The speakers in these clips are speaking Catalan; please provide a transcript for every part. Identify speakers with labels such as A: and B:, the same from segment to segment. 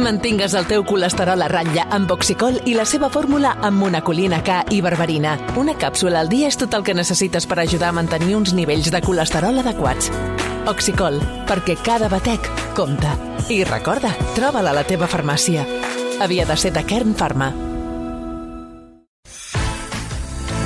A: Mantingues el teu colesterol a ratlla amb Oxicol i la seva fórmula amb monacolina K i berberina. Una càpsula al dia és tot el que necessites per ajudar a mantenir uns nivells de colesterol adequats. Oxicol, perquè cada batec compta. I recorda, troba-la a la teva farmàcia. Havia de ser de Kern Pharma.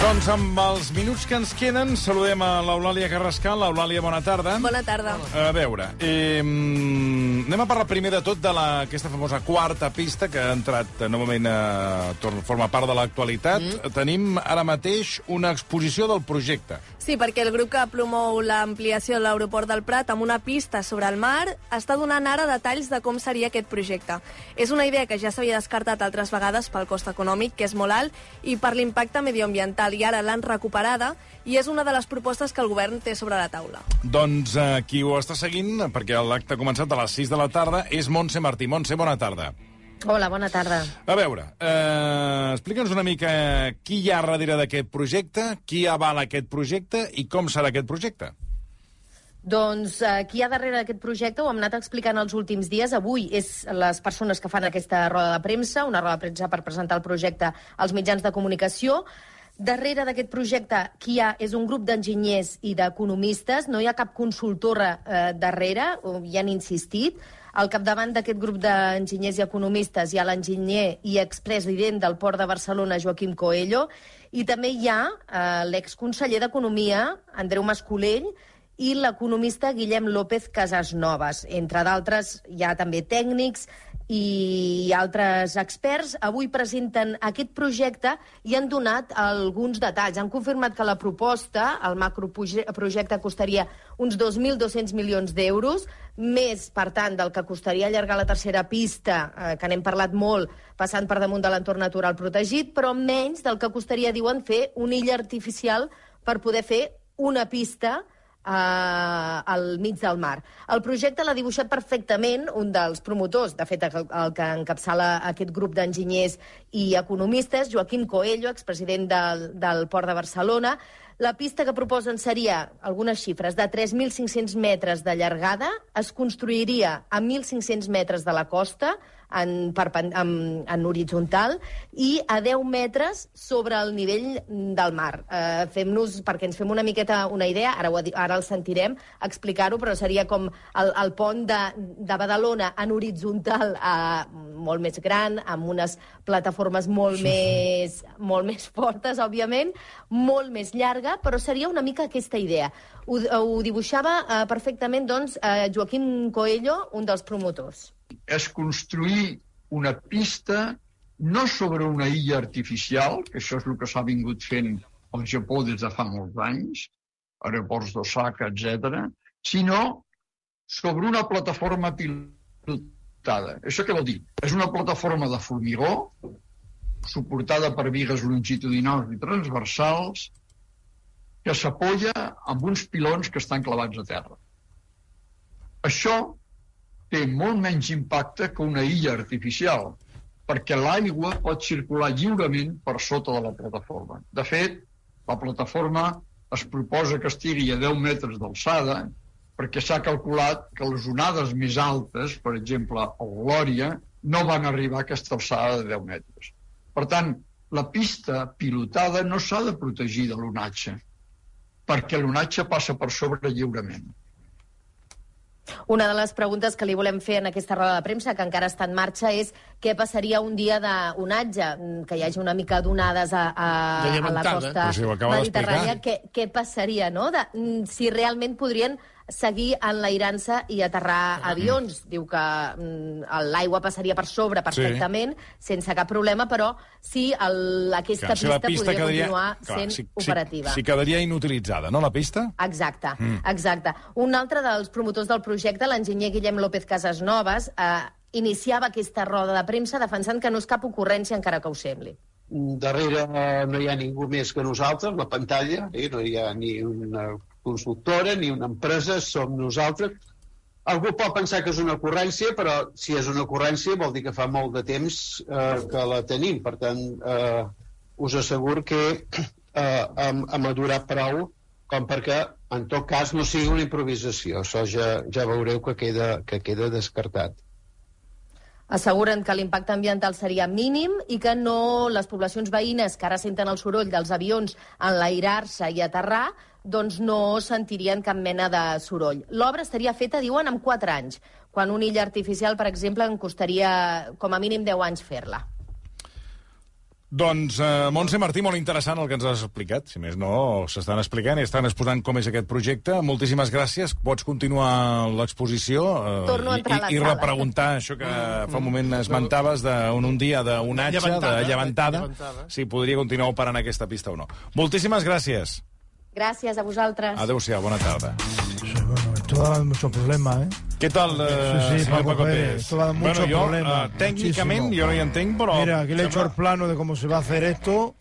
B: Doncs amb els minuts que ens queden, saludem a l'Eulàlia Carrascal. Eulàlia, bona tarda.
C: Bona tarda.
B: A veure, eh, anem a parlar primer de tot de la, aquesta famosa quarta pista que ha entrat eh, novament, eh, torn- forma part de l'actualitat. Mm. Tenim ara mateix una exposició del projecte.
C: Sí, perquè el grup que promou l'ampliació de l'aeroport del Prat amb una pista sobre el mar està donant ara detalls de com seria aquest projecte. És una idea que ja s'havia descartat altres vegades pel cost econòmic, que és molt alt, i per l'impacte medioambiental, i ara l'han recuperada i és una de les propostes que el govern té sobre la taula.
B: Doncs eh, qui ho està seguint, perquè l'acte ha començat a les 6 de la tarda, és Montse Martí. Montse, bona tarda.
D: Hola, bona tarda.
B: A veure, eh, explica'ns una mica qui hi ha darrere d'aquest projecte, qui avala aquest projecte i com serà aquest projecte.
D: Doncs eh, qui hi ha darrere d'aquest projecte ho hem anat explicant els últims dies. Avui és les persones que fan aquesta roda de premsa, una roda de premsa per presentar el projecte als mitjans de comunicació. Darrere d'aquest projecte qui hi ha és un grup d'enginyers i d'economistes, no hi ha cap consultora eh, darrere, ho- hi han insistit. Al capdavant d'aquest grup d'enginyers i economistes hi ha l'enginyer i expresident del Port de Barcelona, Joaquim Coelho, i també hi ha eh, l'exconseller d'Economia, Andreu Mascolell, i l'economista Guillem López Casasnovas. Entre d'altres, hi ha també tècnics i altres experts. Avui presenten aquest projecte i han donat alguns detalls. Han confirmat que la proposta, el macroprojecte, costaria uns 2.200 milions d'euros, més, per tant, del que costaria allargar la tercera pista, eh, que n'hem parlat molt, passant per damunt de l'entorn natural protegit, però menys del que costaria, diuen, fer una illa artificial per poder fer una pista eh, al mig del mar. El projecte l'ha dibuixat perfectament un dels promotors, de fet, el, el que encapçala aquest grup d'enginyers i economistes, Joaquim Coelho, expresident del, del Port de Barcelona. La pista que proposen seria, algunes xifres, de 3.500 metres de llargada, es construiria a 1.500 metres de la costa, en, perpen- en, en horitzontal i a 10 metres sobre el nivell del mar. Eh, Fem-nos, perquè ens fem una miqueta una idea, ara, ho, ha di- ara el sentirem explicar-ho, però seria com el, el pont de, de Badalona en horitzontal eh, molt més gran, amb unes plataformes molt, més, molt més fortes, òbviament, molt més llarga, però seria una mica aquesta idea. Ho, ho dibuixava eh, perfectament doncs, eh, Joaquim Coelho, un dels promotors.
E: és construir una pista no sobre una illa artificial, que això és el que s'ha vingut fent al Japó des de fa molts anys, aeroports d'Osaka, etc, sinó sobre una plataforma pilotada. Això què vol dir? És una plataforma de formigó suportada per vigues longitudinals i transversals que s'apoya amb uns pilons que estan clavats a terra. Això té molt menys impacte que una illa artificial, perquè l'aigua pot circular lliurement per sota de la plataforma. De fet, la plataforma es proposa que estigui a 10 metres d'alçada, perquè s'ha calculat que les onades més altes, per exemple, el Glòria, no van arribar a aquesta alçada de 10 metres. Per tant, la pista pilotada no s'ha de protegir de l'onatge, perquè l'onatge passa per sobre lliurement.
D: Una de les preguntes que li volem fer en aquesta roda de premsa, que encara està en marxa, és què passaria un dia d'onatge, mm, que hi hagi una mica d'onades a, a, a
F: De
D: la
F: llevantada.
D: costa
B: Però si eh? ho acaba
D: mediterrània, què, què passaria, no? De, mm, si realment podrien seguir enlairant-se i aterrar
B: Mm.
D: avions. Diu que mm, l'aigua passaria per sobre perfectament, sense cap problema, però si el, aquesta
B: Clar, si la
D: pista,
B: pista
D: podria
B: quedaria...
D: continuar sent operativa.
B: Si, si quedaria inutilitzada, no, la pista?
D: Exacte, exacte. Un altre dels promotors del projecte, l'enginyer Guillem López Casasnovas, eh, iniciava aquesta roda de premsa defensant que no és cap ocurrència encara que ho sembli.
G: darrere eh, no hi ha ningú més que nosaltres, la pantalla, eh? no hi ha ni una consultora ni una empresa, som nosaltres. Algú pot pensar que és una ocurrència, però si és una ocurrència vol dir que fa molt de temps eh, que la tenim. Per tant, eh, us asseguro que eh, hem, hem adurat prou com perquè, en tot cas, no sigui una improvisació. Això ja, ja veureu que queda, que queda descartat.
D: Asseguren que l'impacte ambiental seria mínim i que no les poblacions veïnes que ara senten el soroll dels avions enlairar-se i aterrar doncs no sentirien cap mena de soroll. L'obra estaria feta, diuen, en 4 anys, quan una illa artificial, per exemple, en costaria com a mínim 10 anys fer-la.
B: Doncs, eh, Montse Martí, molt interessant el que ens has explicat. Si més no, s'estan explicant i estan exposant com és aquest projecte. Moltíssimes gràcies. Pots continuar l'exposició eh,
D: Torno a
B: i,
D: entrar a la
B: i, i
D: sala.
B: repreguntar això que fa un moment esmentaves d'un un dia d'onatge, de
F: Llevantada,
B: llevantada,
F: llevantada.
B: si podria continuar operant aquesta pista o no. Moltíssimes gràcies.
D: Gràcies a vosaltres.
B: Adéu-siau, bona tarda.
H: Sí, bueno, esto va a dar mucho problema, ¿eh?
B: Què tal, eh,
H: Sí, sí,
B: senyor
H: Paco
B: Paco
H: Pérez,
B: Pérez?
H: esto va a dar mucho
B: bueno, jo,
H: problema,
B: eh, tècnicament,
H: muchísimo.
B: jo no hi entenc, però...
H: Mira, aquí le he hecho el plano de cómo se va a hacer esto,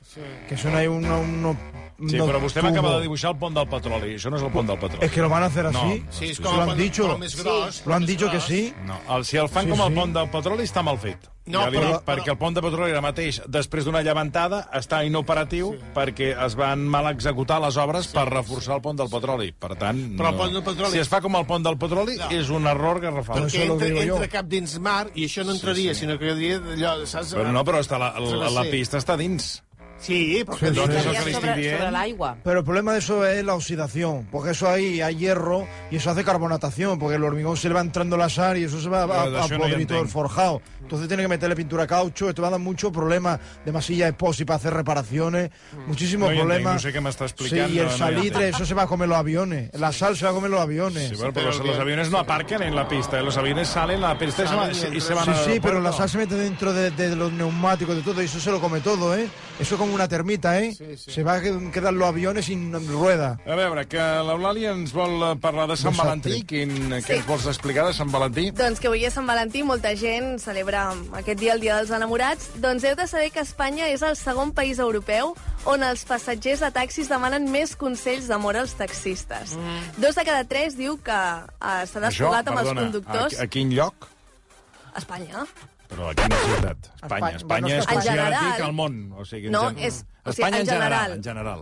H: que son ahí uno- unos...
B: Sí,
H: unos
B: però vostè
H: tubos.
B: m'acaba de dibuixar el pont del petroli. Això no és el pont del petroli.
H: Es que lo van a hacer
B: No,
H: así.
F: Sí, és
H: Se
F: com
H: lo
F: el
H: han
F: pont-
H: dicho.
F: però més gros.
H: Lo han
F: més
H: dicho que
F: gros.
H: sí.
B: No, el, si el fan
H: Sí,
B: com el
H: sí.
B: pont del petroli està mal fet.
F: No,
B: ja li
F: però-
B: dic, perquè el pont de petroli ara mateix, després d'una llevantada, està inoperatiu sí. perquè es van mal executar les obres sí, per reforçar sí. el pont del petroli. Per tant,
F: Però el pont del petroli-
B: si es fa com el pont del petroli, no. és un error que refal.
F: Perquè
H: Això lo
F: entra,
H: digo yo.
F: entra cap dins mar i això no entraria, sí, sí. sinó que jo diria allò, saps?
B: Però no, però està la, la, la
F: Sí.
B: pista està dins.
F: Sí, però...
H: Sí,
F: que-
H: sí.
B: Doncs és el
I: Estaria
B: que li estic
I: sobre, sobre
B: dient.
I: l'aigua.
H: Pero el problema de eso es la oxidación, porque eso ahí hay hierro y eso hace carbonatación, porque el hormigón se le va entrando la sal y eso se va a,
B: Pero de
H: a
B: eso no
H: podrir
B: yo
H: todo el
B: entiendo.
H: forjado. Entonces tiene que meterle pintura caucho, esto va a dar muchos problemas de masilla epoxi para hacer reparaciones, muchísimos
B: Mm. No yo entiendo,
H: problemas.
B: no sé qué me está explicando,
H: Sí, y el
B: no, no, yo
H: salitre,
B: entiendo.
H: eso se va a comer los aviones, la sal se va a comer los aviones.
B: Sí,
H: Sí,
B: bueno,
F: pero
B: pero los,
F: bien.
B: los aviones no aparcan en la pista, eh. los aviones salen a la pista y,
F: Salen y
B: se van, y
F: entran.
B: se van
H: sí,
B: al
H: pero la
B: aeropuerto.
H: sal se mete dentro de, de los neumáticos, de todo, y eso se lo come todo, ¿eh? Eso es como una termita, ¿eh? Se va a quedar los aviones sin ruedas.
B: A veure, que l'Eulàlia ens vol eh, parlar de Sant
H: Dissabte.
B: Valentí. Quin, Què ens vols explicar de Sant Valentí?
C: Doncs que avui és Sant Valentí, molta gent celebra aquest dia, el Dia dels Enamorats. Doncs heu de saber que Espanya és el segon país europeu on els passatgers de taxis demanen més consells d'amor als taxistes. Mm. Dos de cada tres diu que eh, s'ha desfogat amb els conductors.
B: A, a quin lloc?
C: A, a... Espanya?
B: Però a quina ciutat? Espanya.
H: Espanya,
B: Espanya és
H: en
B: considerat
C: general.
B: antic al món. O sigui,
C: No,
B: gen-
C: és- o sigui,
B: Espanya
C: en general.
B: en general.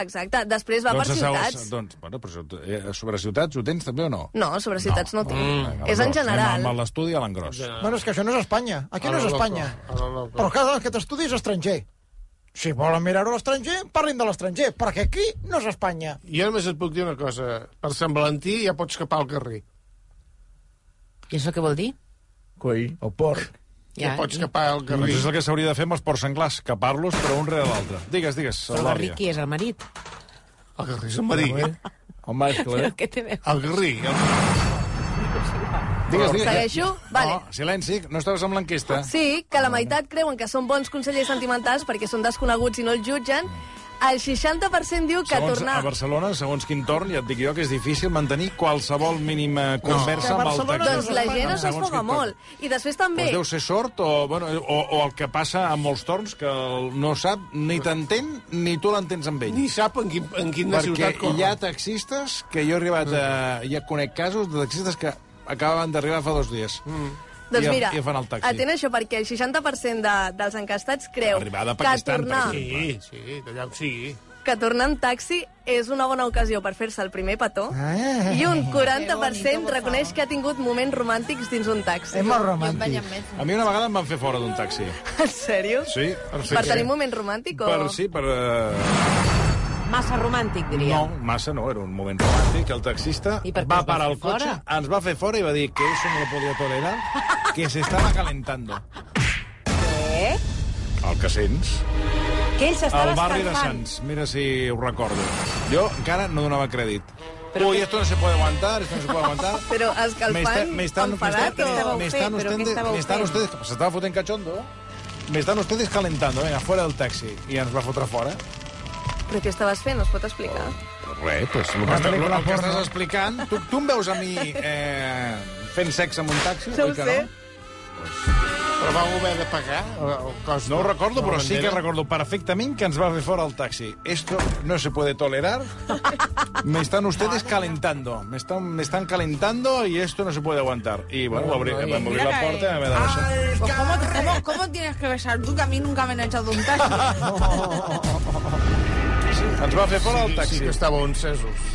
C: Exacte. Després va
B: doncs,
C: per
B: a segons-
C: ciutats.
B: Doncs, bueno, però sobre, eh, sobre ciutats ho tens també o no?
C: No, sobre ciutats no, no tinc. Mm. És en
B: L'engròs.
C: general.
B: Anem amb l'estudi a l'engròs.
H: Ah. Bueno, és que això no és Espanya. Aquí Ah, no
F: A
H: és
F: lo loco,
H: Espanya.
F: a lo loco.
H: Però cada vegada que t'estudi és estranger. Si volen mirar-ho a l'estranger, parlin de l'estranger, perquè aquí no és Espanya.
F: Jo només et puc dir una cosa. Per Sant Valentí ja pots escapar al carrer.
I: I això què vol dir?
H: Coi, o porc.
F: Ja, ja pots escapar al
B: Doncs
F: carrer.
B: és el que s'hauria de fer amb els porcs senglars, que parlos, però un rere l'altre. Digues, digues,
I: Però el
B: Eulàlia.
I: Garric qui és el marit?
F: Al carrer Sant Marí.
B: Home, és clar.
I: Què té a veure?
F: Al carrer.
B: Digues, digues.
C: Segueixo? Vale.
B: No, silenci, no estaves amb l'enquesta.
C: Sí, que la meitat creuen que són bons consellers sentimentals perquè són desconeguts i no els jutgen. El 60% diu que
B: Segons,
C: tornar...
B: a Barcelona, segons quin torn, ja et dic jo que és difícil mantenir qualsevol mínima conversa
H: No.
B: amb el
H: Barcelona
B: taxista.
C: Doncs la gent es
B: Segons
C: desfoga
B: quin torn.
C: molt. I després també...
B: Doncs deu ser sort o, bueno, o, o el que passa a molts torns que el no sap, ni t'entén, ni tu l'entens amb ell.
F: Ni sap en, quin, en quina
B: Perquè
F: ciutat corre.
B: hi ha taxistes que jo he arribat a... Ja conec casos de taxistes que acabaven d'arribar fa dos dies. Mm.
C: Doncs
B: I,
C: mira,
B: I fan el taxi.
C: atén això, perquè el 60% de, dels encastats creu
B: Arribada a
C: que
B: Pakistan, per
C: tornar,
B: exemple.
F: Sí, sí, d'allà on sigui.
C: que tornar en taxi és una bona ocasió per fer-se el primer petó
H: Ah.
C: i un 40% reconeix que ha tingut moments romàntics dins un taxi.
H: És molt romàntic.
B: A mi una vegada em van fer fora d'un taxi.
C: En sèrio?
B: Sí,
C: Per tenir moment romàntic o...
B: Per, sí, per... Eh...
I: Massa romàntic, diria.
B: No, massa no, era un moment romàntic. El taxista
I: I per què
B: va
I: us va
B: parar el
I: fer
B: cotxe,
I: fora?
B: ens va fer fora i va dir que eso no lo podía tolerar, que se estaba calentando.
I: Què?
B: El que sents.
I: Que ell s'estava
B: Al barri de
I: escalfant.
B: Sants, mira si ho recordo. Jo encara no donava crèdit.
I: Però
B: Uy,
I: què-
B: esto no se puede aguantar, esto no se puede aguantar.
C: Però
B: Me está-
C: escalfant,
B: me están- me
C: enfadat
I: ¿Qué
C: o...
I: estaba
B: me
I: usted?
B: están
I: ¿Pero qué
B: ustedes-
I: estaba
B: me están
I: usted?
B: ustedes- se estaba fotent cachondo. Me están ustedes calentando, venga, fuera del taxi. I ens va fotre fora.
C: Però què estaves fent? Us pot explicar?
B: Res, pues, el, que, el, el que estàs explicant... Tu, tu em veus a mi eh, fent sexe amb un taxi?
C: No
B: oi
C: ho
B: que
C: sé.
F: Però vau haver de pagar el cost.
B: No ho recordo, però sí que
F: bandera?
B: recordo perfectament que ens va fer fora el taxi. Esto no se puede tolerar. Me están ustedes calentando. Me están, me están calentando y esto no se puede aguantar. I, bueno, va obrir, vam obrir la porta i vam haver de deixar.
J: Al ca- ¿Cómo, cómo tienes que besar tú? Que a mí nunca me han echado un taxi.
B: Ens va fer fora el
F: Sí
B: taxi.
F: que estàveu encesos.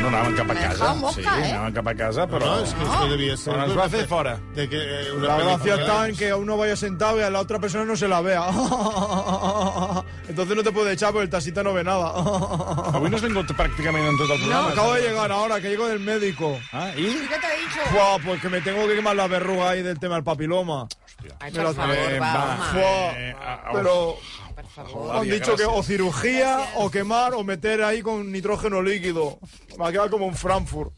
B: No anaven cap a casa.
J: dejado
B: sí,
J: mosca, eh?
B: anaven cap a casa, però...
F: No, és que esto debía ser...
B: Però ens va fer fora.
F: De que, eh, una
H: La
F: película-
H: gracia está en que a uno vaya sentado y a la otra persona no se la vea. Entonces no te puede echar porque el taxista no ve nada.
B: Avui no has vingut pràcticament en tot el
H: No,
B: programa. eh?
H: acabo de llegar ahora, que llego del médico.
B: Ah, ¿y?
J: ¿Qué te ha dicho?
H: Fua, pues que me tengo que quemar la verruga ahí del tema del papiloma.
I: Ay,
H: Me la-
I: por favor, va, home.
H: Fua, ah,
B: Eh, a- a-
H: pero
I: Por favor.
B: Joder,
H: han dicho que o
B: gràcies.
H: cirugía, o quemar, o meter ahí con nitrógeno líquido. Me ha quedado como un Frankfurt.